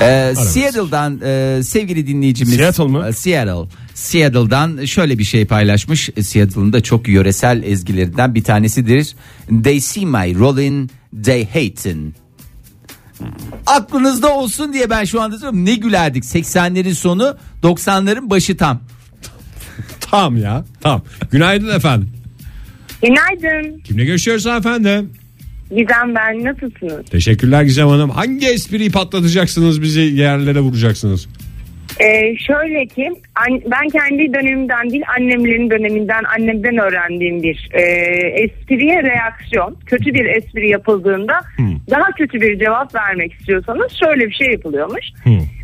Ee, Seattle'dan e, sevgili dinleyicimiz Seattle mı? E, Seattle. Seattle'dan şöyle bir şey paylaşmış. E, Seattle'ın da çok yöresel ezgilerinden bir tanesidir. They see my rolling, they hating. Aklınızda olsun diye ben şu anda söylüyorum. Ne gülerdik 80'lerin sonu 90'ların başı tam. Tamam ya. Tamam. Günaydın efendim. Günaydın. Kimle görüşüyoruz efendim? Gizem ben. Nasılsınız? Teşekkürler Gizem Hanım. Hangi espriyi patlatacaksınız bizi yerlere vuracaksınız? Ee, şöyle ki an- ben kendi dönemimden değil annemlerin döneminden annemden öğrendiğim bir e, espriye reaksiyon. Kötü bir espri yapıldığında daha kötü bir cevap vermek istiyorsanız şöyle bir şey yapılıyormuş.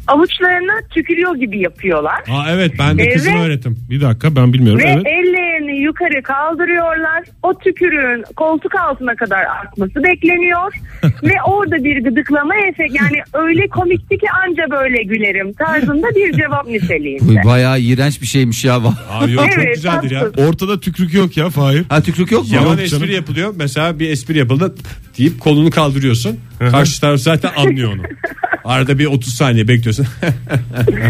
Avuçlarına tükürüyor gibi yapıyorlar. Aa evet ben de Evet. kızım öğretim. Bir dakika ben bilmiyorum. Ve Evet. ellerini yukarı kaldırıyorlar. O tükürüğün koltuk altına kadar akması bekleniyor. ve orada bir gıdıklama efekt yani öyle komikti ki anca böyle gülerim tarzında bir cevap Bu niteliğinde. bayağı iğrenç bir şeymiş ya. Aa, yok çok Evet, güzeldir ya. tatsız. Ortada tükrük yok ya Fahir. ha tükrük yok mu? Yalan Yok espri canım. yapılıyor. Mesela bir espri yapıldı deyip kolunu kaldırıyorsun. Karşı taraf zaten anlıyor onu. Arada bir 30 saniye bekliyorsun.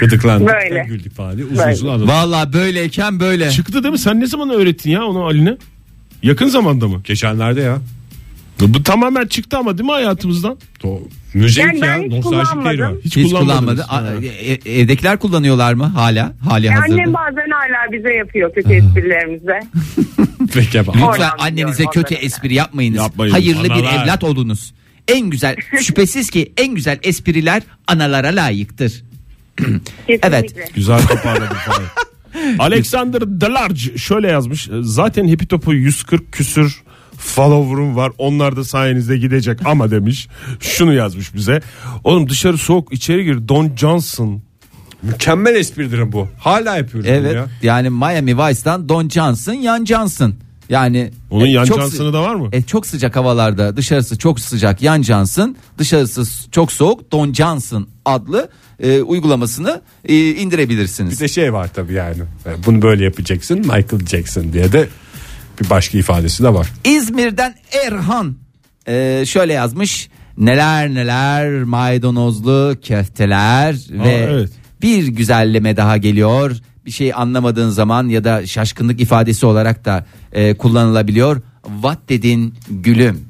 Gıdıklandı. Böyle. Güldük falan diye uzun Böyle. uzun anlatıyor. Vallahi böyleyken böyle. Çıktı değil mi? Sen ne zaman öğrettin ya onu Ali'ne? Yakın zamanda mı? Geçenlerde ya. Bu tamamen çıktı ama değil mi hayatımızdan? To- Müzik Yani ben ya. hiç Nostaljik değeri var. kullanmadım. Hiç, kullanmadı. kullanmadınız. A- e- e- evdekiler kullanıyorlar mı hala? Hali hazırda. Annem bazen hala bize yapıyor kötü esprilerimize. Peki abi. Lütfen Oradan annenize biliyorum, kötü oradan. espri yapmayınız. Yapmayın, Hayırlı bir analar. evlat olunuz. En güzel şüphesiz ki en güzel espriler analara layıktır. Kesinlikle. Güzel toparladım falan. Alexander Delarge şöyle yazmış. Zaten Happy Top'u 140 küsür follower'ım var. Onlar da sayenizde gidecek ama demiş. Şunu yazmış bize. Oğlum dışarı soğuk içeri gir. Don Johnson. Mükemmel espridir bu. Hala yapıyorum bunu Evet. ya. Yani Miami Vice'dan Don Johnson, Yan Johnson. Yani Onun e, yan çok Johnson'ı sı- da var mı? E, çok sıcak havalarda dışarısı çok sıcak Yan Johnson, dışarısı s- çok soğuk Don Johnson adlı e, uygulamasını e, indirebilirsiniz. Bir de şey var tabii yani. Yani Bunu böyle yapacaksın Michael Jackson diye de bir başka ifadesi de var. İzmir'den Erhan e, şöyle yazmış. Neler neler maydanozlu köfteler ve evet. bir güzelleme daha geliyor. Bir şey anlamadığın zaman ya da şaşkınlık ifadesi olarak da e, kullanılabiliyor. What dedin gülüm.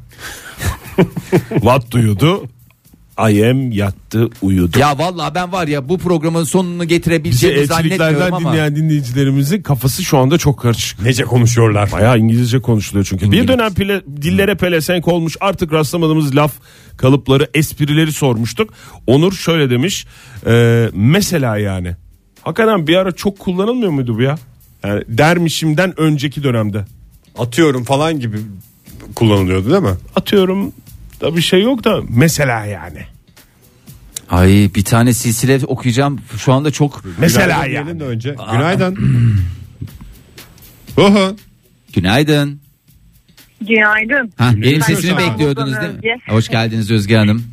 What duyuyordu? I am yattı uyudu. Ya vallahi ben var ya bu programın sonunu Bizi getirebileceğimi zannetmiyorum elçiliklerden ama. dinleyen dinleyicilerimizin kafası şu anda çok karışık. Nece konuşuyorlar. Bayağı İngilizce konuşuluyor çünkü. Bir İngiliz. dönem pile- dillere pelesenk olmuş artık rastlamadığımız laf kalıpları esprileri sormuştuk. Onur şöyle demiş. e, mesela yani. Hakikaten bir ara çok kullanılmıyor muydu bu ya? Yani dermişimden önceki dönemde. Atıyorum falan gibi kullanılıyordu değil mi? Atıyorum da bir şey yok da mesela yani. Ay bir tane silsile okuyacağım şu anda çok. Mesela Günaydın yani. diyelim de önce. Günaydın. Oho. Günaydın. Günaydın. Ha, benim sesimi İstanbul'dan bekliyordunuz değil mi? Özge. Hoş geldiniz Özge Hanım.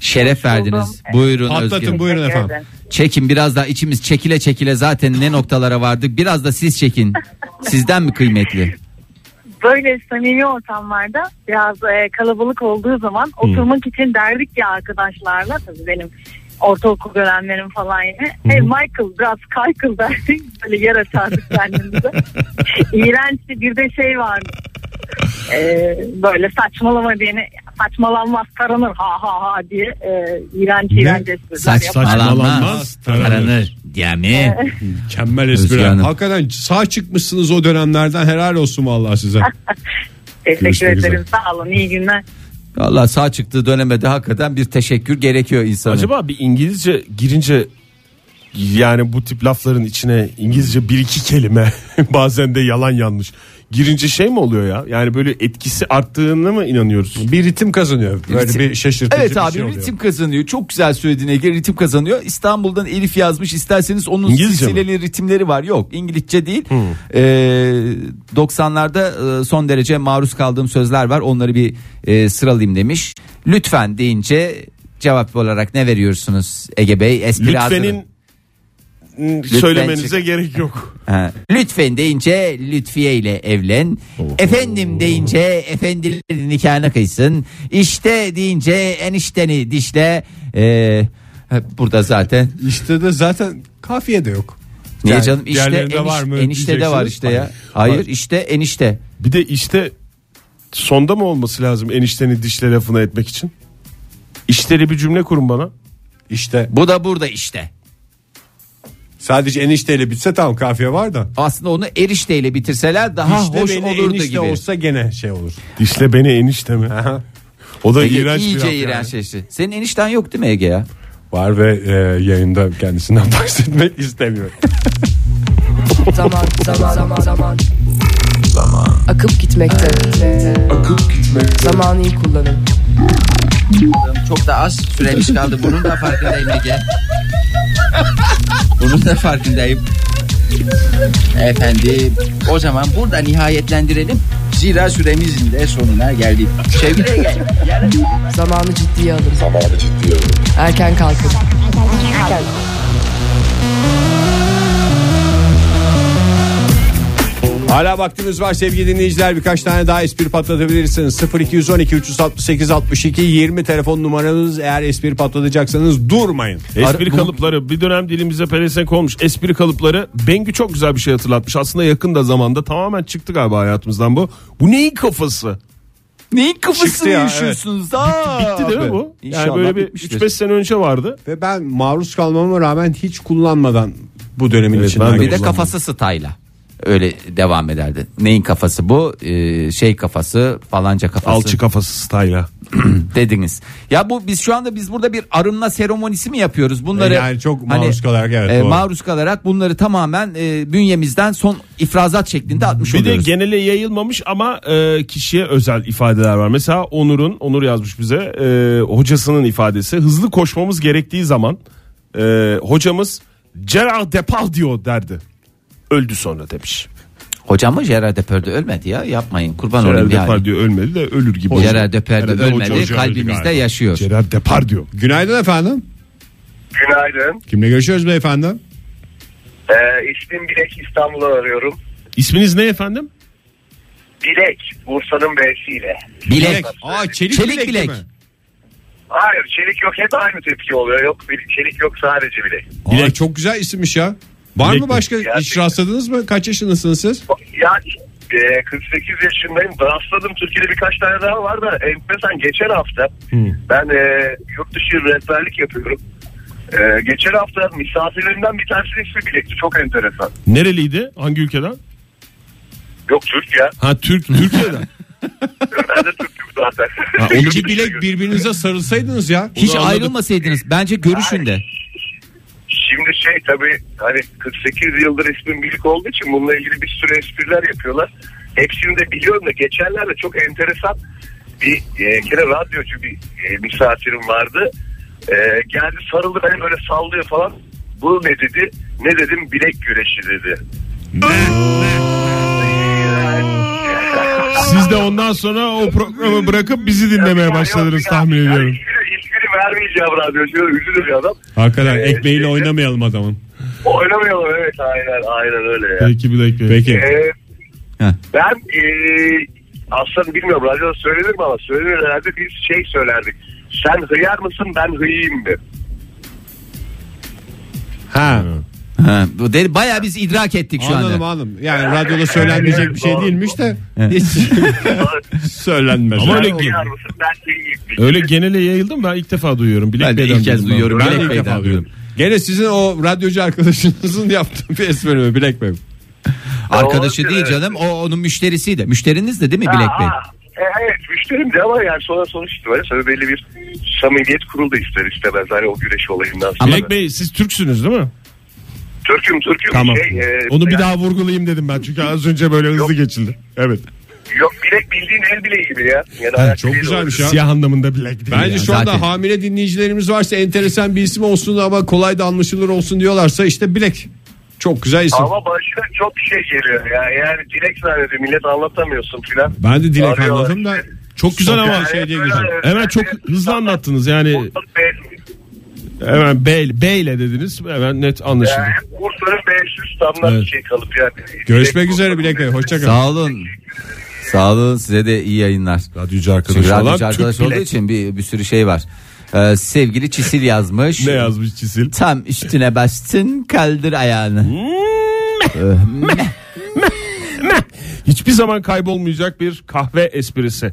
Şeref verdiniz. Buyurun Özge. Patlatın buyurun Teşekkür efendim. ederim. Çekin biraz daha içimiz çekile çekile zaten ne noktalara vardık. Biraz da siz çekin. Sizden mi kıymetli? böyle samimi ortamlarda biraz e, kalabalık olduğu zaman oturmak için derdik ya arkadaşlarla tabii benim ortaokul görenlerim falan yine. Hey Michael biraz kaykıl derdik böyle yer açardık kendimize. İğrençti bir de şey vardı. E, böyle saçmalama diyene saçmalanmaz taranır ha ha ha diye e, iğrenç iğrenç espriler yapardık. Saçmalanmaz. Saçmalanmaz, taranır. Taranır. Değil mi? Mükemmel Özge espri. Hanım. Hakikaten sağ çıkmışsınız o dönemlerden helal olsun vallahi size. Ah. Teşekkür Görüşmek ederim üzere. sağ olun iyi günler. Valla sağ çıktığı dönemde hakikaten bir teşekkür gerekiyor insanın. Acaba bir İngilizce girince yani bu tip lafların içine İngilizce bir iki kelime bazen de yalan yanlış girince şey mi oluyor ya? Yani böyle etkisi arttığına mı inanıyoruz? Bir ritim kazanıyor. Böyle Ritim. bir şaşırtıcı Evet bir abi şey oluyor. ritim kazanıyor. Çok güzel söylediğine göre ritim kazanıyor. İstanbul'dan Elif yazmış. İsterseniz onun İngilizce mi? silsileli ritimleri var. Yok İngilizce değil. Ee, 90'larda e, son derece maruz kaldığım sözler var. Onları bir e, sıralayayım demiş. Lütfen deyince cevap olarak ne veriyorsunuz Ege Bey? Espri hazırım. Lütfenin söylemenize gerek yok. Ha. Lütfen deyince Lütfiye ile evlen. Efendim deyince efendilerin nikahına kıysın. İşte deyince enişteni dişle. Ee, burada zaten. İşte de zaten kafiye de yok. Niye Yani canım? İşte diğerlerinde eniş, var mı enişte de var diyeceksiniz. işte ya. Hayır. Hayır işte enişte. Bir de işte sonda mı olması lazım enişteni dişle lafına etmek için? İşleri bir cümle kurun bana. İşte Bu da burada işte. sadece enişteyle bitse tamam kafiye var da. Aslında onu erişteyle bitirseler daha İşte hoş beni olurdu enişte gibi. olsa gene şey olur. Dişle beni enişte mi? o da Ege iğrenç bir laf iyice yani. iğrenç yani. Senin enişten yok değil mi Ege ya? Var ve e, yayında kendisinden bahsetmek istemiyor. Zaman, zaman, zaman, zaman. Akıp gitmekte. Zamanı iyi kullanın. Çok da az süremiz kaldı. Bunun da farkındayım Ege. Bunun da farkındayım. Efendim o zaman burada nihayetlendirelim. Zira süremizin de sonuna geldik. Sevgili Ege, Zamanı ciddiye alın. Zamanı ciddiye alın. Erken kalkın. Hala vaktimiz var sevgili dinleyiciler. Birkaç tane daha espri patlatabilirsiniz. 0212 368 62 20 telefon numaranız. Eğer espri patlatacaksanız durmayın. Espri kalıpları bir dönem dilimize pelesenk olmuş. Espri kalıpları Bengü çok güzel bir şey hatırlatmış. Aslında yakın da zamanda tamamen çıktı galiba hayatımızdan bu. Bu neyin kafası? Neyin kafasını ya, yaşıyorsunuz ha? Bitti değil mi bu? İnşallah Yani böyle bir bitmiştir. 3-5 sene önce vardı. Ve ben maruz kalmama rağmen hiç kullanmadan bu dönemin Evet, içinden ben de geçtim. Bir de kafası stayla. Öyle devam ederdi. Neyin kafası bu? Ee, şey kafası falanca kafası Alçı kafası style'a. dediniz. Ya bu biz şu anda biz burada bir arınma seremonisi mi yapıyoruz? Bunları E, hani, e, Yani çok maruz kalarak, evet, doğru. maruz kalarak bunları tamamen e, bünyemizden son ifrazat şeklinde atmış Bir de oluyoruz. genele yayılmamış ama e, kişiye özel ifadeler var. Mesela Onur'un, Onur yazmış bize e, hocasının ifadesi. Hızlı koşmamız gerektiği zaman e, hocamız Gerard Depardieu derdi. Öldü sonra demiş. Hocam mı Gerard Depardieu ölmedi ya yapmayın kurban olayım Gerard yani. Depardieu ölmedi de ölür gibi. oldu. Gerard Depardieu Herhalde hoca- ölmedi hoca öldü kalbimizde galiba. yaşıyor. Gerard Depardieu. Günaydın efendim. Günaydın. Kimle görüşüyoruz beyefendi? Ee, ismim Bilek İstanbul'a arıyorum. İsminiz ne efendim? Bilek Bursa'nın B'siyle. Bilek. Aa, çelik, Çelik bilek. bilek. mi? Hayır çelik yok hep aynı tepki oluyor. Yok bilek- çelik yok sadece bilek. Aa, Bilek. çok güzel isimmiş ya. Var Bilek mı mi? başka hiç Gerçekten. rastladınız mı? Kaç yaşındasınız siz? Yani e, 48 yaşındayım. Rastladım Türkiye'de birkaç tane daha var da enteresan geçen hafta ben e, yurt dışı rehberlik yapıyorum. E, geçen hafta misafirlerinden bir tanesinin ismi Bilek'ti. Çok enteresan. Nereliydi? Hangi ülkeden? Yok Türk ya. Ha Türk Türkiye'den. Ben de Türk'üm zaten. İki bilek birbirinize sarılsaydınız ya. Hiç Bunu anladık. ayrılmasaydınız bence görüşün de. Şimdi şey tabii hani 48 yıldır ismim Bilik olduğu için bununla ilgili bir sürü espriler yapıyorlar. Hepsini de biliyorum da geçenlerde çok enteresan bir e, kere radyocu bir e, misafirim vardı. E, geldi sarıldı beni böyle sallıyor falan. Bu ne dedi? Ne dedim? Bilek güreşi dedi. Siz de ondan sonra o programı bırakıp bizi dinlemeye başladınız tahmin ediyorum. İsmini vermeyeceğim radyocuya üzülür bir adam. Hakikaten Ee, ekmeğiyle işte- oynamayalım adamın. Oynamayalım evet aynen aynen öyle ya. Peki bir dakika. Peki. Ee, Heh. ben e, aslında bilmiyorum radyoda söylenir mi ama söylenir herhalde biz şey söylerdik. Sen hıyar mısın ben hıyayım mı? Ha. Ha, bu de, bayağı biz idrak ettik şu Anladım anda. anladım. Yani radyoda söylenmeyecek Ee, bir şey Doğru. değilmiş de. Evet. Söylenmez. Ama Sen öyle hıyar mısın ben hıyayım mı? Öyle genele yayıldı mı ben ilk defa duyuyorum. Bilek Ben de Bey'den ilk kez duydum duyuyorum. Ben Bilek de ilk Bey'den defa duydum. duyuyorum. Gene sizin o radyocu arkadaşınızın yaptığı bir espri mi? Bilek mi? Arkadaşı Olabilir, değil evet. canım o onun müşterisiydi. Müşteriniz de değil mi Bilek Bey? Aa, e, evet müşterim de ama yani sonra sonuç itibariyle tabii belli bir samimiyet kuruldu ister istemez. Hani o güreş olayından sonra. Bilek Bey siz Türksünüz değil mi? Türk'üm Türk'üm. Tamam. Şey, e, Onu bir yani- daha vurgulayayım dedim ben. Çünkü az önce böyle hızlı geçildi. Evet. Yok bilek bildiğin el bileği gibi ya. Yani ayak çok bileği de güzelmiş olabilir. ya. Siyah anlamında bilek değil. Bence Ya, şu zaten. anda hamile dinleyicilerimiz varsa enteresan bir isim olsun ama kolay da anlaşılır olsun diyorlarsa işte Bilek. Çok güzel isim. Ama başına çok şey geliyor ya. Yani dilek zannediyor. Millet anlatamıyorsun filan. Ben de Dilek Arıyorlar. anladım da Çok güzel Çok ama güzel. şey diye güzel. Hemen çok hızlı anlattınız yani. Be- Hemen bey, beyle dediniz. Hemen net anlaşıldı. Yani Bursa'nın B500 damlar Evet. şey kalıp yani. Görüşmek üzere Bilek Bey. Hoşçakalın. Sağ olun. Sağ olun size de iyi yayınlar. Radyocu arkadaş Çünkü olan radyocu Türk arkadaş olduğu Bilek. için bir, bir sürü şey var. Ee, sevgili Çisil yazmış. Ne yazmış çizil? Tam üstüne bastın kaldır ayağını. Hiçbir zaman kaybolmayacak bir kahve esprisi.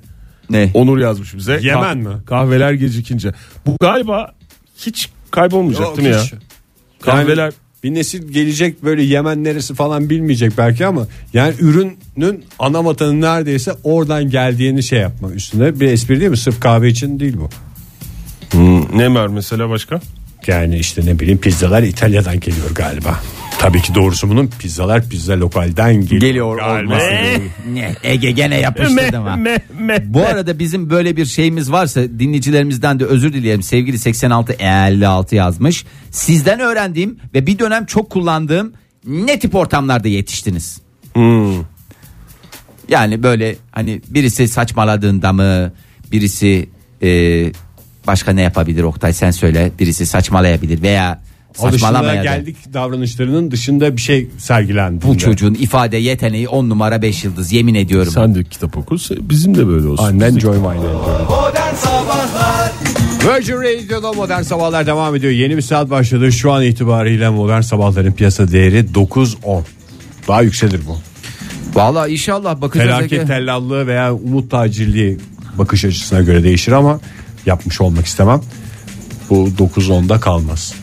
Ne? Onur yazmış bize. Yemen mi? Kahveler gecikince. Bu galiba hiç kaybolmayacak Yok, değil mi ya? hiç. Kahveler Yani bir nesil gelecek böyle Yemen neresi falan bilmeyecek belki ama yani ürünün ana vatanı neredeyse oradan geldiğini şey yapma üstüne bir espri değil mi? Sırf kahve için değil bu. Hmm, ne var mesela başka? Yani işte ne bileyim pizzalar İtalya'dan geliyor galiba. Tabii ki doğrusu bunun pizzalar pizza lokalden geliyor. Geliyor galiba. olması. Ne? Ege gene yapıştırdım ha. Bu arada bizim böyle bir şeyimiz varsa dinleyicilerimizden de özür dileyelim. Sevgili 86 56 yazmış. Sizden öğrendiğim ve bir dönem çok kullandığım ne tip ortamlarda yetiştiniz? Hmm. Yani böyle hani birisi saçmaladığında mı birisi e, başka ne yapabilir Oktay sen söyle birisi saçmalayabilir veya Alışıla saçmalamayabilir. geldik davranışlarının dışında bir şey sergilendi. Bu çocuğun ifade yeteneği 10 numara 5 yıldız yemin ediyorum. Sen de kitap oku bizim de böyle olsun. Annen Joy Mayer. Virgin Radio'da Modern Sabahlar devam ediyor. Yeni bir saat başladı. Şu an itibariyle Modern Sabahların piyasa değeri 9.10. Daha yükselir bu. Vallahi inşallah bakacağız. Ege. Felaket tellallığı veya umut tacirliği bakış açısına göre değişir ama yapmış olmak istemem. Bu 9.10'da kalmaz.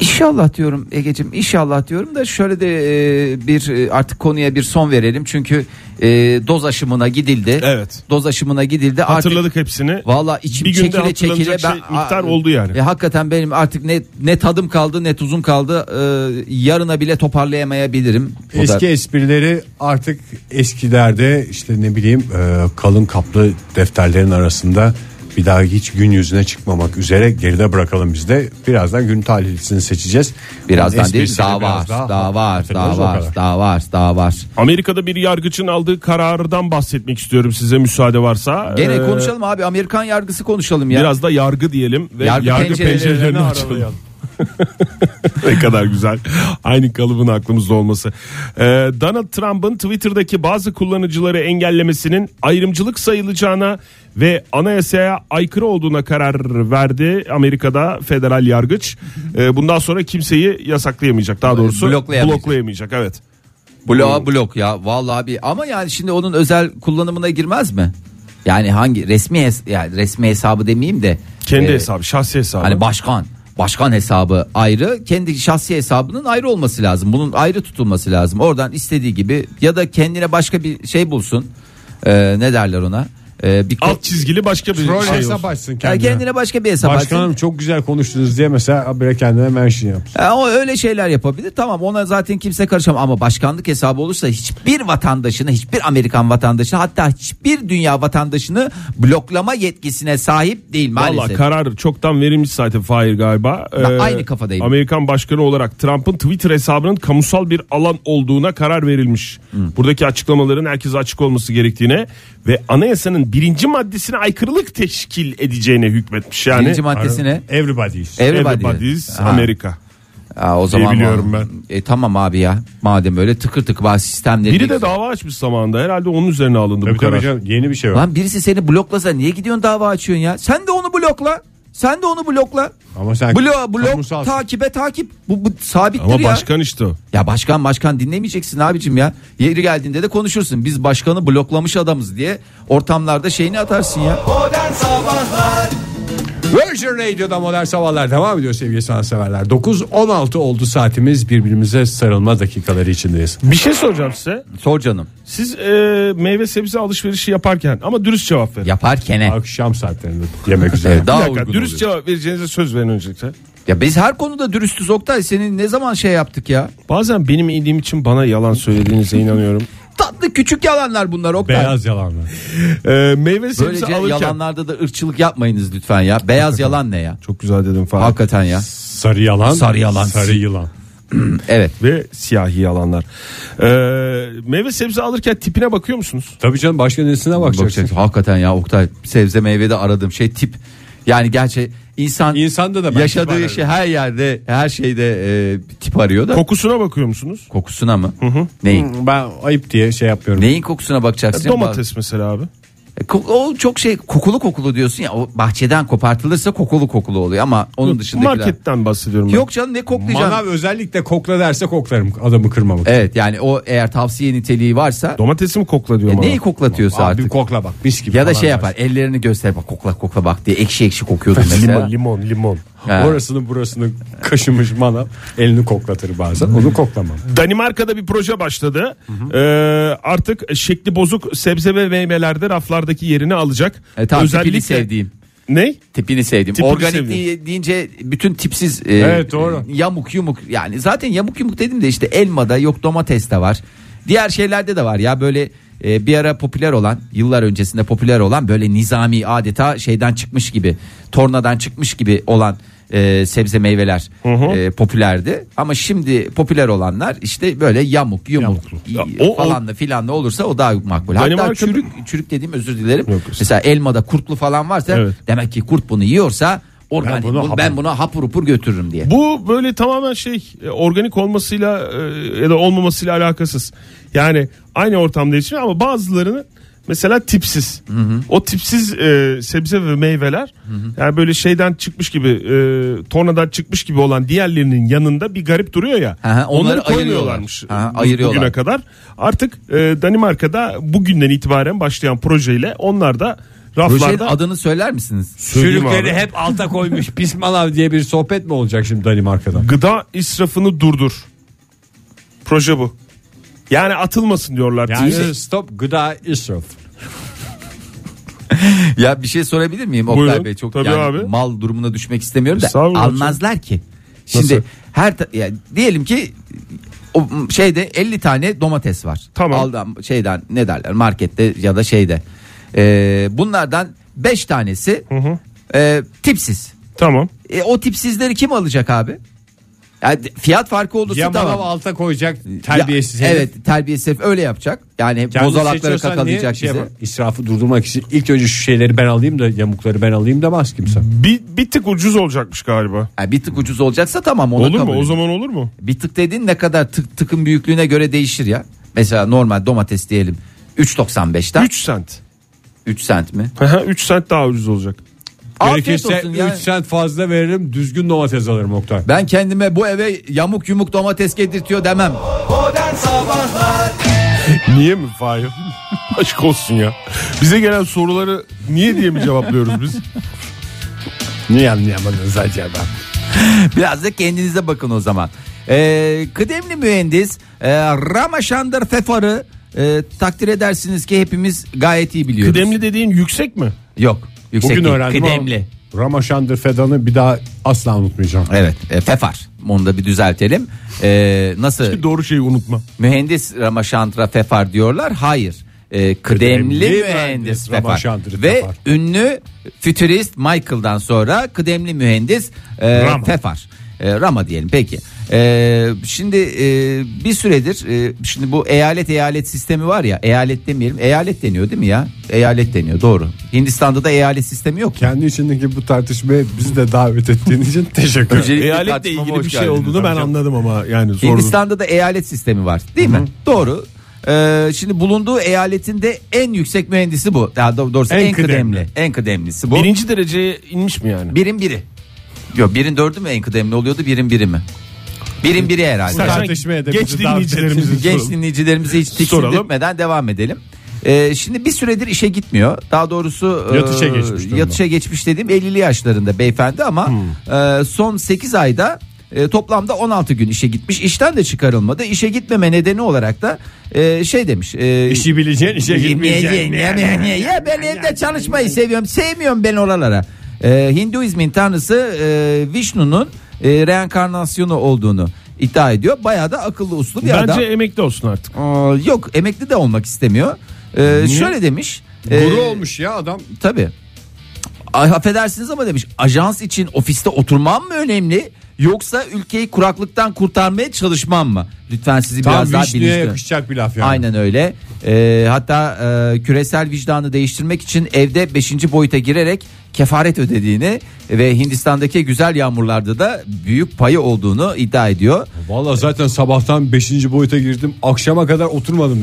İnşallah diyorum Ege'cim inşallah diyorum da şöyle de e, bir e, artık konuya bir son verelim çünkü e, doz aşımına gidildi. Evet. Doz aşımına gidildi. Artık Hatırladık hepsini. Valla içim Bir günde çekile çekile hatırlanacak şey, miktar Aa, oldu yani. E, hakikaten benim artık ne ne tadım kaldı ne tuzum kaldı. Ee, yarına bile toparlayamayabilirim. O da- Eski esprileri artık eskilerde işte ne bileyim e, kalın kaplı defterlerin arasında bir daha hiç gün yüzüne çıkmamak üzere geride bırakalım biz de. Birazdan gün talihlisini seçeceğiz. birazdan değil Esprisini daha biraz var, daha daha var, hatırlarız daha o var, kadar. daha var, daha var. Amerika'da bir yargıcın aldığı karardan bahsetmek istiyorum size müsaade varsa. Gene Ee, konuşalım abi Amerikan yargısı konuşalım ya. Biraz da yargı diyelim ve Yargı yargı, pencerelerini pencerelerini açalım. ne kadar güzel. Aynı kalıbın aklımızda olması. Ee, Donald Trump'ın Twitter'daki bazı kullanıcıları engellemesinin ayrımcılık sayılacağına ve anayasaya aykırı olduğuna karar verdi Amerika'da federal yargıç. Ee, bundan sonra kimseyi yasaklayamayacak. Daha doğrusu Bloklayamayacak. bloklayamayacak evet. Hmm. Bloğa blok ya vallahi bir ama yani şimdi onun özel kullanımına girmez mi? Yani hangi resmi hes- yani resmi hesabı demeyeyim de Kendi e, hesabı, şahsi hesabı. Hani başkan, başkan hesabı ayrı, kendi şahsi hesabının ayrı olması lazım. Bunun ayrı tutulması lazım. Oradan istediği gibi ya da kendine başka bir şey bulsun. Ee, ne derler ona? Ee, bir Alt çizgili başka bir Troll şey olsun. hesap açsın Ya kendine. kendine başka bir hesap Başkanım açsın. çok güzel konuştunuz diye mesela bire kendine mention yapsın. Ha, E, o öyle şeyler yapabilir. Tamam ona zaten kimse karışamaz ama başkanlık hesabı olursa hiçbir vatandaşını, hiçbir Amerikan vatandaşını hatta hiçbir dünya vatandaşını bloklama yetkisine sahip değil Valla maalesef. karar çoktan verilmiş zaten Fahir galiba. Ee, Ben aynı kafadayım. Amerikan başkanı olarak Trump'ın Twitter hesabının kamusal bir alan olduğuna karar verilmiş. Buradaki açıklamaların herkese açık olması gerektiğine ve anayasanın birinci maddesine aykırılık teşkil edeceğine hükmetmiş. Yani Birinci maddesine. Everybody. Everybody. Everybody's Ha. Amerika. Aa, E, o zaman biliyorum ben. E, tamam abi ya. Madem öyle tıkır tıkır bazı sistemleri. Biri de dava açmış zamanında herhalde onun üzerine alındı Tabii bu karar. tabii canım, yeni bir şey var. Lan birisi seni bloklasa niye gidiyorsun dava açıyorsun ya? Sen de onu blokla. Sen de onu blokla. Ama sen Blok, blok kamusalsın. takibe takip. Bu, bu sabittir Ama ya. başkan işte o. Ya başkan başkan dinlemeyeceksin abicim ya. Yeri geldiğinde de konuşursun. Biz başkanı bloklamış adamız diye ortamlarda şeyini atarsın ya. Virgin Radio'da modern sabahlar devam ediyor sevgili sanatseverler. 9.16 oldu saatimiz birbirimize sarılma dakikaları içindeyiz. Bir şey soracağım size. Sor canım. Siz e, meyve sebze alışverişi yaparken ama dürüst cevap verin. Yaparkene. Akşam saatlerinde yemek üzere. Evet, Ee, daha Bir dakika, uygun dürüst oluyor. cevap vereceğinize söz verin öncelikle. Ya biz her konuda dürüstüz Oktay. Senin ne zaman şey yaptık ya? Bazen benim iyiliğim için bana yalan söylediğinize inanıyorum. Tatlı küçük yalanlar bunlar Oktay. Beyaz yalanlar. Ee, meyve sebze Böylece alırken... yalanlarda da ırkçılık yapmayınız lütfen ya. Beyaz yalan ne ya? Çok güzel dedim falan. Hakikaten ya. Sarı yalan. Sarı yalan. Sarı yılan. Evet. Ve siyahi yalanlar. Ee, meyve sebze alırken tipine bakıyor musunuz? Tabii canım başka nesine bakacaksın. Bakacaksın. Hakikaten ya Oktay sebze meyvede aradığım şey tip. Yani gerçi insan İnsanda da ben tip yaşadığı ararım. şey her yerde her şeyde e, tip arıyor da Kokusuna bakıyor musunuz? kokusuna mı? Neyin? Ben ayıp diye şey yapmıyorum. Neyin kokusuna bakacaksın? Domates mesela abi. E, ko- O çok şey kokulu kokulu diyorsun ya o bahçeden kopartılırsa kokulu kokulu oluyor ama onun dışındakiler. Marketten bahsediyorum ben. Yok canım ne koklayacaksın? Manav özellikle kokla derse koklarım adamı kırmamak. Evet yani o eğer tavsiye niteliği varsa Domatesi mi kokla diyor e, bana. neyi koklatıyorsa Abi artık. kokla bak mis gibi. ya da falan şey dersin. yapar ellerini göster bak kokla kokla bak diye ekşi ekşi kokuyordu mesela. Limon limon limon. Ha. Orasını burasını kaşımış manav elini koklatır bazen. Onu koklamam. Danimarka'da bir proje başladı. Ee, artık şekli bozuk sebze ve meyvelerde raflardaki yerini alacak. E, tamam, tipini sevdiğim. Ne? Tipini sevdim. Tipini Organik sevdim. diye- deyince bütün tipsiz e, Evet, doğru. e, yamuk yumuk yani zaten yamuk yumuk dedim de işte elmada yok domates de var. Diğer şeylerde de var ya böyle e, bir ara popüler olan yıllar öncesinde popüler olan böyle nizami adeta şeyden çıkmış gibi tornadan çıkmış gibi olan e, sebze meyveler e, popülerdi. Ama şimdi popüler olanlar işte böyle yamuk yumuk Ya, o- falan da filan da olursa o daha makbul. Hatta Danimarka'da- çürük, çürük dediğim özür dilerim. Yok, Mesela elmada kurtlu falan varsa Evet. Demek ki kurt bunu yiyorsa organik Ben ben, bunu bunu hapur- ben buna hapur hupur götürürüm diye. Bu böyle tamamen şey e, organik olmasıyla e, ya da olmamasıyla alakasız. Yani aynı ortamda yetişiyor ama bazılarını mesela tipsiz. O tipsiz e, sebze ve meyveler yani böyle şeyden çıkmış gibi e, tornadan çıkmış gibi olan diğerlerinin yanında bir garip duruyor ya. Hı hı, onları koymuyorlarmış. ayırıyorlar. Hı hı, bu- ayırıyorlar. Bugüne kadar artık e, Danimarka'da bugünden itibaren başlayan projeyle onlar da Projenin raflarda şey adını söyler misiniz? Söyleyeyim abi. hep alta koymuş pis manav diye bir sohbet mi olacak şimdi Danimarka'da? Gıda israfını durdur. Proje bu. Yani atılmasın diyorlar. Yani stop gıda israf. Ya bir şey sorabilir miyim Oktay Buyurun. Bey? Çok Tabii yani abi. mal durumuna düşmek istemiyorum da Estağfurullah almazlar ki. Şimdi Nasıl? her ta- ya diyelim ki o şeyde 50 tane domates var. Tamam. Aldan şeyden ne derler markette ya da şeyde. Ee, bunlardan 5 tanesi e, tipsiz. Tamam. E, o tipsizleri kim alacak abi? Yani fiyat farkı olursa Ya manav tamam. alta koyacak terbiyesiz. Ya, herif. evet terbiyesiz herif öyle yapacak. Yani Kendisi bozalakları seçiyorsan niye kakalayacak şey bize. yapar? İsrafı durdurmak için ilk önce şu şeyleri ben alayım da yamukları ben alayım demez kimse. Bir, bir tık ucuz olacakmış galiba. Yani bir tık ucuz olacaksa tamam ona olur mu? kabul. O zaman olur mu? Bir tık dediğin ne kadar tık, tıkın büyüklüğüne göre değişir ya. Mesela normal domates diyelim 3.95'ten 3, 3 sent. sent mi? 3 sent daha ucuz olacak. Afiyet Gerekirse olsun 3 ya. sent fazla veririm düzgün domates alırım Oktay. Ben kendime bu eve yamuk yumuk domates getirtiyor demem. Niye mi Fahir? Aşk olsun ya. Bize gelen soruları niye diye mi cevaplıyoruz biz? Niye anlayamadınız acaba? Biraz da kendinize bakın o zaman. Ee, kıdemli mühendis e, Ramaşandır Fefar'ı e, takdir edersiniz ki hepimiz gayet iyi biliyoruz. Kıdemli dediğin yüksek mi? Yok. Yüksek Bugün değil, öğrendim Kıdemli. ama Ramaşandır Fedan'ı bir daha asla unutmayacağım. Evet. e, Fefar. Onu da bir düzeltelim. E, nasıl? Doğru şeyi unutma. mühendis Ramaşantra Fefar diyorlar. Hayır. E, kıdemli, Kıdemli mühendis mühendis Fefar. Ramachandra Ve Fefar. ünlü fütürist Michael'dan sonra kıdemli mühendis e, Rama. Fefar. E, Rama diyelim peki. E, şimdi e, bir süredir e, şimdi bu eyalet eyalet sistemi var ya eyalet demeyelim eyalet deniyor değil mi ya? Eyalet deniyor doğru. Hindistan'da da eyalet sistemi yok. Kendi içindeki bu tartışmaya bizi de davet ettiğin için teşekkür ederim. Öncelikle Eyaletle tartışmama ilgili hoş bir şey geldiniz olduğunu ben hocam. anladım ama yani sordum. Hindistan'da da eyalet sistemi var değil mi? Doğru. Ee, şimdi bulunduğu eyaletinde en yüksek mühendisi bu. Daha doğ- doğrusu en, En kıdemli. kıdemli. En kıdemlisi bu. Birinci dereceye inmiş mi yani? Birin biri. Yok birin dördü mü en kıdemli oluyordu birin biri mi? Birin biri herhalde. Sen- tartışmaya da Geç bizi davet dinleyicilerimizi ettiğiniz için Genç soralım. dinleyicilerimizi hiç tiksindirtmeden devam edelim. Ee, şimdi bir süredir işe gitmiyor. Daha doğrusu e, Yatışa geçmiş durumda. Hmm. yatışa geçmiş dediğim 50'li yaşlarında beyefendi ama e, son 8 ayda e, toplamda 16 gün işe gitmiş. İşten de çıkarılmadı. İşe gitmeme nedeni olarak da e, şey demiş. e, İşi bileceğin işe gitmeyeceksin. ya, ya, ya, ya ben evde çalışmayı seviyorum. Sevmiyorum ben oralara. Ee, Hinduizmin tanrısı e, Vishnu'nun e, reenkarnasyonu olduğunu iddia ediyor. Bayağı da akıllı uslu bir Bence adam. emekli olsun artık. Aa, yok emekli de olmak istemiyor. Ee, şöyle demiş. Guru e, olmuş ya adam. Tabii. Ay, affedersiniz ama demiş ajans için ofiste oturmam mı önemli yoksa ülkeyi kuraklıktan kurtarmaya çalışmam mı? Lütfen sizi Tam biraz daha vişneye bilinçli. yakışacak bir laf yani. Aynen öyle. Ee, hatta e, küresel vicdanı değiştirmek için evde 5. boyuta girerek kefaret ödediğini ve Hindistan'daki güzel yağmurlarda da büyük payı olduğunu iddia ediyor. Valla zaten sabahtan 5. boyuta girdim akşama kadar oturmadım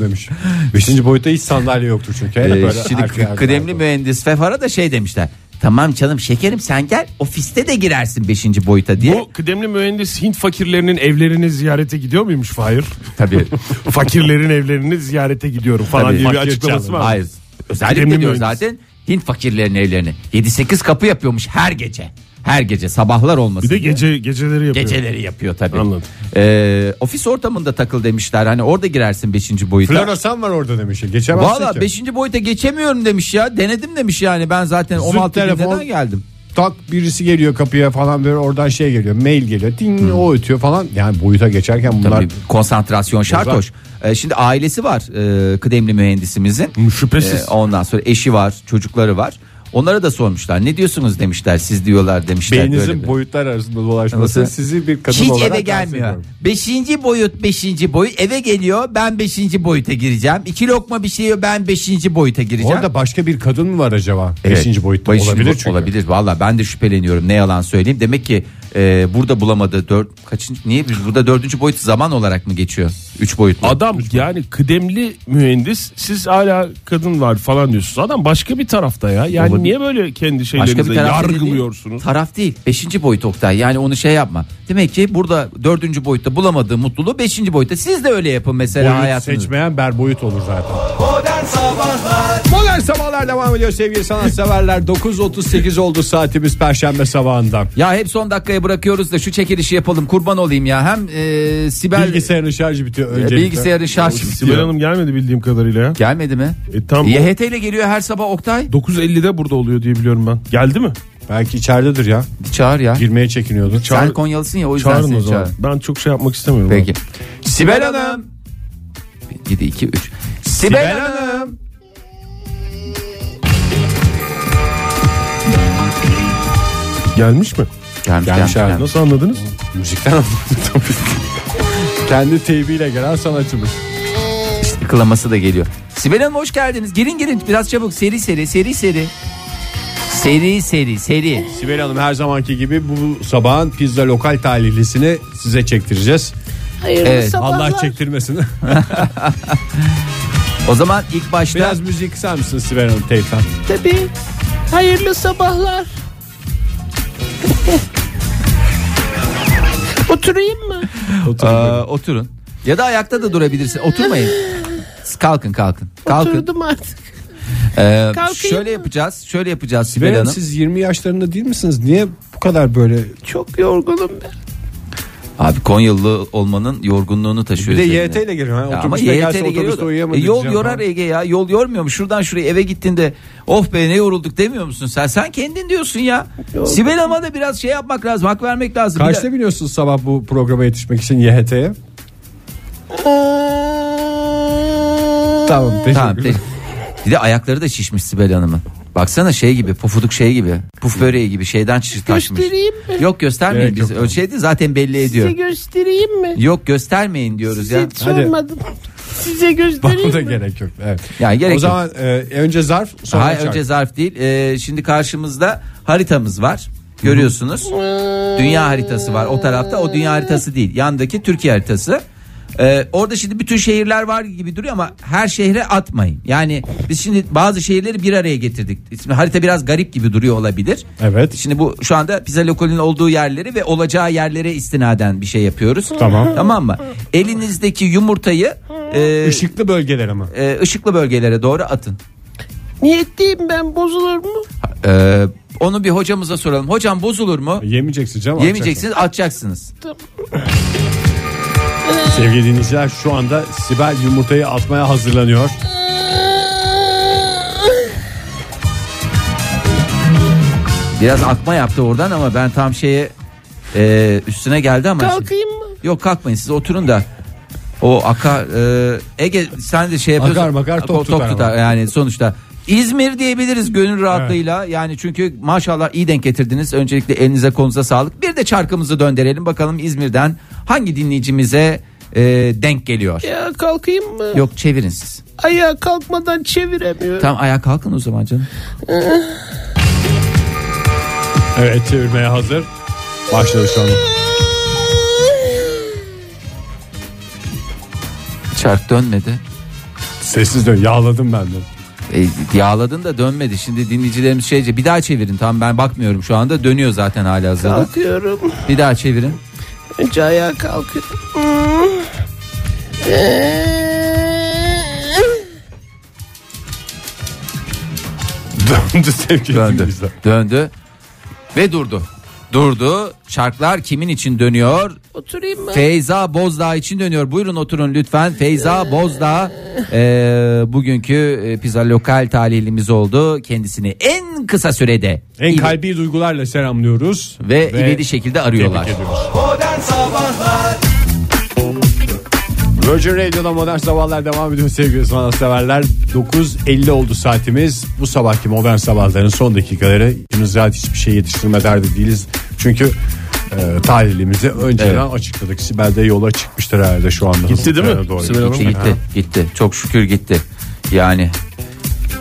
demiş. 5. boyutta hiç sandalye yoktur çünkü. Hep Ee, böyle şimdi arka arka kıdemli arka. mühendis Fefara da şey demişler. Tamam canım şekerim sen gel ofiste de girersin 5. boyuta diye. Bu kıdemli mühendis Hint fakirlerinin evlerini ziyarete gidiyor muymuş Fahir? Tabii. Fakirlerin evlerini ziyarete gidiyorum falan Tabii. diye bir Fakir açıklaması var. Hayır. Özellikle Kıdemli diyor mühendis. zaten Hint fakirlerin evlerini 7-8 kapı yapıyormuş her gece. Her gece sabahlar olmasın. Bir de diye. gece geceleri yapıyor. Geceleri yapıyor tabii. Anladım. Ee, ofis ortamında takıl demişler. Hani orada girersin 5. boyuta. Floresan var orada demiş. Geçemezsin Valla ki. 5. boyuta geçemiyorum demiş ya. Denedim demiş yani. Ben zaten 16 bin telefon. neden geldim. tak birisi geliyor kapıya falan böyle oradan şey geliyor mail geliyor ding o ötüyor falan yani boyuta geçerken bunlar Tabii konsantrasyon şart Bunlar- hoş. Ee, şimdi ailesi var e, kıdemli mühendisimizin. Şüphesiz. Ee, ondan sonra eşi var, çocukları var. Onlara da sormuşlar. Ne diyorsunuz demişler. Siz diyorlar demişler. böyle beyninizin bir. boyutlar arasında dolaşması Nasıl? sizi bir kadın Hiç olarak eve rahatsız gelmiyor. ediyor. Beşinci boyut beşinci boyut eve geliyor ben beşinci boyuta gireceğim. İki lokma bir şey yiyor ben beşinci boyuta gireceğim. Orada başka bir kadın mı var acaba? Evet, Beşinci boyutta beşinci olabilir boyut çünkü. Olabilir valla ben de şüpheleniyorum ne yalan söyleyeyim. Demek ki e, burada bulamadı dört kaçıncı niye biz burada dördüncü boyut zaman olarak mı geçiyor? Üç boyutlu. Adam yani kıdemli mühendis siz hala kadın var falan diyorsunuz. Adam başka bir tarafta ya. Yani Olabilir. niye böyle kendi Başka bir şeylerinize taraf değil. yargılıyorsunuz? Taraf değil. Beşinci boyut Oktay. Yani onu şey yapma. Demek ki burada dördüncü boyutta bulamadığı mutluluğu beşinci boyutta. Siz de öyle yapın mesela Boyut hayatınızda. seçmeyen ber boyut olur zaten. Modern Sabahlar devam ediyor sevgili sanatseverler. 9.38 oldu saatimiz Perşembe sabahında. Ya hep son dakikaya bırakıyoruz da şu çekilişi yapalım kurban olayım ya. Hem e, Sibel Bilgisayarın şarjı bitiyor e, öncelikle. bilgisayarın şarjı Sibel Hanım gelmedi bildiğim kadarıyla ya. gelmedi mi? E, tam YHT ile geliyor her sabah Oktay. 9.50'de burada oluyor diye biliyorum ben. Geldi mi? Belki içeridedir ya. Çağır ya. Girmeye çekiniyordu. Sen Konyalısın ya o yüzden Çağırın o seni zaman. çağır. Ben çok şey yapmak istemiyorum. Peki. Sibel Hanım. 7 2 3. Sibel Hanım. Gelmiş mi? Gelmiş, gelmiş, abi. gelmiş. Nasıl anladınız? Müzikten anladım tabii. Kendi teybiyle gelen sanatçımız. Kılaması da geliyor. Sibel Hanım hoş geldiniz. Girin girin biraz çabuk. Seri seri seri seri. Seri seri seri. Sibel Hanım her zamanki gibi bu sabahın pizza lokal talihlisini size çektireceğiz. Hayırlı Evet, sabahlar. Allah çektirmesin. O zaman ilk başta Biraz müzik kısar mısın Sibel Hanım teypten? Tabii. Hayırlı sabahlar. Oturayım mı? Aa, oturun. Ya da ayakta da durabilirsin. Oturmayın. Kalkın kalkın. Kalkın. Oturdum artık. Ee, Kalkayım şöyle mı? yapacağız. Şöyle yapacağız Sibel Sibel Hanım Hanım. siz 20 yaşlarında değil misiniz? Niye bu kadar böyle Çok yorgunum ben. Abi Konyalı olmanın yorgunluğunu taşıyor. Bir de üzerine. YT ile geliyor. Ha. Ya ama Otobüste YT gelse ile otobüste geliyor da- uyuyamadı E, yol diyeceğim yorar falan. Ege ya. Yol yormuyor mu? Şuradan şuraya eve gittiğinde oh be ne yorulduk demiyor musun sen? Sen kendin diyorsun ya. Sibel Hanım'a da biraz şey yapmak lazım. Hak vermek lazım. Bir Kaçta de- biliyorsunuz sabah bu programa yetişmek için YHT'ye? Tamam teşekkür Tamam, te- bir de ayakları da şişmiş Sibel Hanım'ın. Baksana şey gibi pufuduk şey gibi puf böreği gibi şeyden çıtırtaşmış. Göstereyim mi? Yok göstermeyin Gerek biz yok. ölçeydi zaten belli ediyor. Size göstereyim mi? Yok göstermeyin diyoruz Size ya. hiç Hadi. sormadım. Size Bana göstereyim da mi? gerek yok. Evet. Yani gerek o yok. zaman e, önce zarf sonra Hayır şarkı. önce zarf değil. Ee, şimdi karşımızda haritamız var. Görüyorsunuz. Dünya haritası var o tarafta. O dünya haritası değil. Yandaki Türkiye haritası. Ee, orada şimdi bütün şehirler var gibi duruyor ama her şehre atmayın. Yani biz şimdi bazı şehirleri bir araya getirdik. Şimdi harita biraz garip gibi duruyor olabilir. Evet. Şimdi bu şu anda pizza lokalinin olduğu yerleri ve olacağı yerlere istinaden bir şey yapıyoruz. Tamam. Tamam mı? Elinizdeki yumurtayı e, Işıklı bölgeler ama. e, ışıklı bölgelere doğru atın. Niyetliyim ben bozulur mu? Ee, onu bir hocamıza soralım. Hocam bozulur mu? Yemeyeceksin canım. Yemeyeceksiniz, atacaksınız. atacaksın. Sevgili dinleyiciler şu anda Sibel yumurtayı atmaya hazırlanıyor. Biraz akma yaptı oradan ama ben tam şeye e, üstüne geldi ama. Kalkayım mı? Yok kalkmayın siz oturun da. O akar e, Ege sen de şey yapıyorsun. Akar makar top tutar ama. yani sonuçta İzmir diyebiliriz gönül rahatlığıyla. Yani çünkü maşallah iyi denk getirdiniz. Öncelikle elinize konuza sağlık. Bir de çarkımızı döndürelim bakalım İzmir'den hangi dinleyicimize e, denk geliyor. Ya kalkayım mı? Yok çevirin siz. Ayağa kalkmadan çeviremiyorum. Tamam ayağa kalkın o zaman canım. Evet çevirmeye hazır. Başladı şu anda. Çark dönmedi. Sessiz dön. Yağladım ben de. E, yağladın da dönmedi. Şimdi dinleyicilerimiz şeyce bir daha çevirin. Tamam ben bakmıyorum şu anda. Dönüyor zaten hala hazırda. Kalkıyorum. Bir daha çevirin. Önce ayağa kalkıyorum. Döndü sevgili Döndü. dinleyiciler. Döndü. Ve durdu. Durdu. Çarklar kimin için dönüyor? Oturayım mı? Feyza Bozdağ için dönüyor. Buyurun oturun lütfen. Feyza Bozdağ e, bugünkü e, pizza lokal talihlimiz oldu. Kendisini en kısa sürede En iyi kalbi duygularla selamlıyoruz. ve, ivedi şekilde arıyorlar. Tebrik ediyoruz. Virgin Radio'da Modern Sabahlar devam ediyor sevgili sanatseverler. 9.50 oldu saatimiz. Bu sabahki Modern Sabahların son dakikaları. İçimiz rahat hiçbir şey yetiştirme derdi değiliz. Çünkü e, talihimizi önceden açıkladık. Sibel de yola çıkmıştır herhalde şu anda. Gitti değil mi? Ee, Doğru. Sibel Hanım. Gitti gitti gitti. Çok şükür gitti. Yani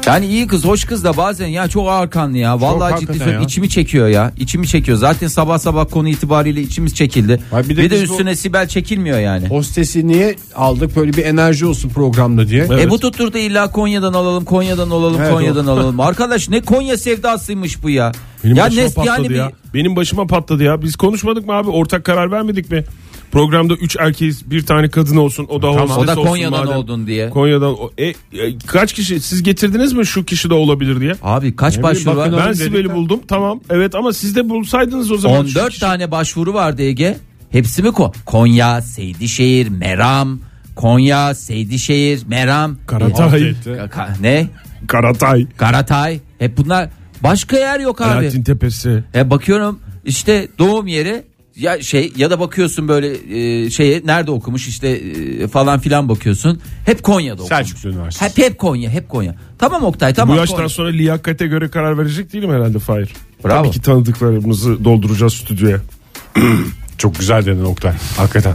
yani iyi kız hoş kız da bazen ya çok ağır kanlı ya. Vallahi ciddi hakikaten söylüyorum ya. içimi çekiyor ya. İçimi çekiyor. Zaten sabah sabah konu itibariyle içimiz çekildi. Ay bir bir de, de biz bu- üstüne Sibel çekilmiyor yani. Hostesi niye aldık böyle bir enerji olsun programda diye. E bu tutturdu illa Konya'dan alalım, Konya'dan alalım, Evet, Konya'dan alalım. Arkadaş ne Konya sevdasıymış bu ya. Benim ya başıma nes- patladı yani bir- ya. Benim başıma patladı ya. Biz konuşmadık mı abi? Ortak karar vermedik mi? Programda 3 erkeğiz bir tane kadın olsun. O da hostes o da olsun Konya'dan madem. oldun diye. Konya'dan. o- E, e, kaç kişi siz getirdiniz mi şu kişi de olabilir diye? Abi kaç başvuru var? bakın Ben Dedik Sibel'i de. buldum tamam. Evet ama siz de bulsaydınız o zaman. şu 14 kişi- tane başvuru vardı Ege. Hepsi mi ko? Konya, Seydişehir, Meram, Konya, Seydişehir, Meram, Karatay. E, ka- ka- ne? Karatay. Karatay. Hep bunlar başka yer yok abi. Alaaddin Tepesi. E bakıyorum işte doğum yeri ya şey ya da bakıyorsun böyle e, şeye nerede okumuş işte e, falan filan bakıyorsun. Hep Konya'da okumuş. Selçuklu Üniversitesi. Hep hep Konya, hep Konya. Tamam Oktay, tamam. Bu yaştan Konya. sonra liyakate göre karar verecek değilim herhalde Fahir. Bravo. Tabii ki tanıdıklarımızı dolduracağız stüdyoya. Çok güzel dedin Oktay. Hakikaten.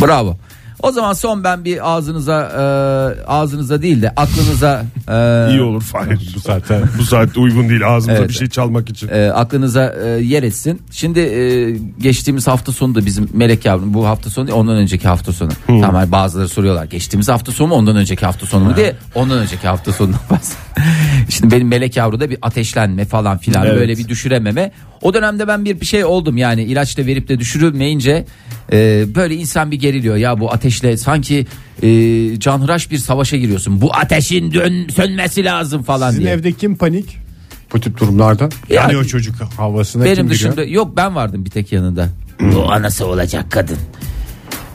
Bravo. O zaman son ben bir ağzınıza e, ağzınıza değil de aklınıza e, İyi olur Fahir. Bu saatte bu saatte uygun değil ağzımıza Evet. bir şey çalmak için. e, aklınıza e, yer etsin. Şimdi e, geçtiğimiz hafta sonu da bizim Melek yavrum bu hafta sonu değil, ondan önceki hafta sonu. Tamam hani bazıları soruyorlar geçtiğimiz hafta sonu mu ondan önceki hafta sonu mu diye ondan önceki hafta sonundan bahsediyorum. Şimdi benim Melek yavruda bir ateşlenme falan filan Evet. böyle bir düşürememe. O dönemde ben bir bir şey oldum yani ilaç da verip de düşürülmeyince e, böyle insan bir geriliyor ya bu ateşle sanki e, canhıraş bir savaşa giriyorsun. Bu ateşin dön, sönmesi lazım falan Sizin diye. evde kim panik? Bu tip durumlarda. Ya- Yanıyor çocuk havasına kim Benim giriyor? dışımda yok ben vardım bir tek yanında. Bu anası olacak kadın.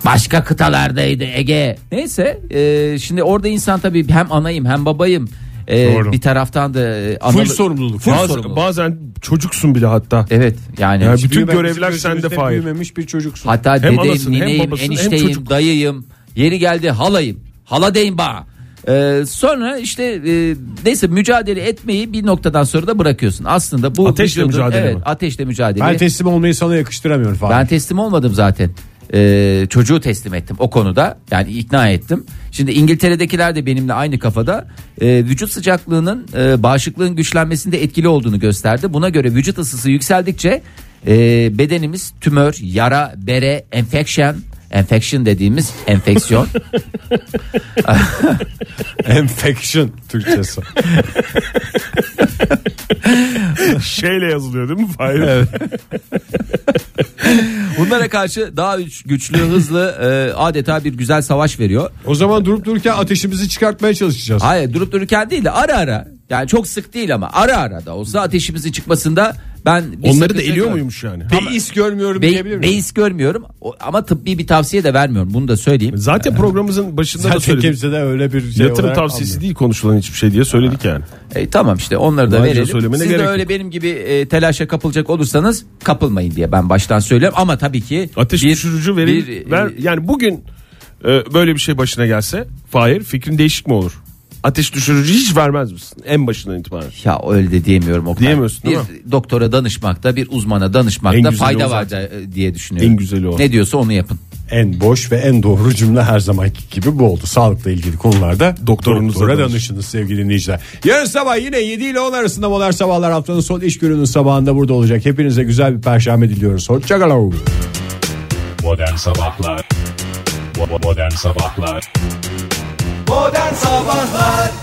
Başka kıtalardaydı Ege. Neyse e, şimdi orada insan tabii hem anayım hem babayım. E, Doğru. bir taraftan da e, Full sorumluluk. Full Baz- sorumluluk. Bazen çocuksun bile hatta. evet yani. Ya Hiç bütün büyümemiş, görevler gözümüzde sende Fahir. Büyümemiş bir çocuksun. Hatta Hem dedeyim, anasını, hem nineyim, babasını, hem enişteyim, çocuk. dayıyım. Yeri geldi halayım. Hala deyin bana. E, sonra işte e, neyse mücadele etmeyi bir noktadan sonra da bırakıyorsun. Aslında bu Ateşle vücudun- mücadele evet, mi? ateşle mücadele. Ben teslim olmayı sana yakıştıramıyorum Fahir. Ben teslim olmadım zaten. Ee, çocuğu teslim ettim o konuda yani ikna ettim. Şimdi İngiltere'dekiler de benimle aynı kafada Ee, vücut sıcaklığının e, bağışıklığın güçlenmesinde etkili olduğunu gösterdi. Buna göre vücut ısısı yükseldikçe e, bedenimiz tümör, yara, bere, enfeksiyon, enfeksiyon dediğimiz enfeksiyon Enfection Türkçesi. Şeyle yazılıyor değil mi Fahir? bunlara karşı daha üç- güçlü, hızlı e, adeta bir güzel savaş veriyor. o zaman durup dururken ateşimizi çıkartmaya çalışacağız. Hayır durup dururken değil de ara ara. Yani çok sık değil ama ara ara da olsa ateşimizin çıkmasında ben... bir Onları da sakınca eliyor görmüyorum. muymuş yani? Beis görmüyorum Be- diyebilir miyim? beis görmüyorum O- ama tıbbi bir tavsiye de vermiyorum bunu da söyleyeyim. Zaten programımızın başında da Zaten söyledik. kimse de öyle bir şey Yatırım olarak tavsiyesi almıyor. değil konuşulan hiçbir şey diye söyledik yani. E, tamam işte onları da Ayrıca verelim. söylemene Siz de gerek öyle yok. benim gibi e, telaşa kapılacak olursanız kapılmayın diye ben baştan söylüyorum ama tabii ki Ateş bir- düşürücü verin. bir, e, ver, yani bugün e, böyle bir şey başına gelse Fahir fikrin değişik mi olur? ateş düşürücü hiç vermez misin? En başından itibaren. Ya öyle de diyemiyorum o kadar. Diyemiyorsun, Bir değil doktora danışmakta, bir uzmana En danışmakta güzeli o fayda var zaten. da- diye düşünüyorum. En güzeli o. Ne diyorsa onu yapın. En boş ve en doğru cümle her zamanki gibi bu oldu. Sağlıkla ilgili konularda Doktorunuza doktora danışın. danışınız sevgili dinleyiciler. Yarın sabah yine 7 ile 10 arasında Modern Sabahlar haftanın son iş gününün sabahında burada olacak. Hepinize güzel bir perşembe diliyoruz. Hoşçakalın. Modern Sabahlar Bo- bo- Modern Sabahlar Modern Sabahlar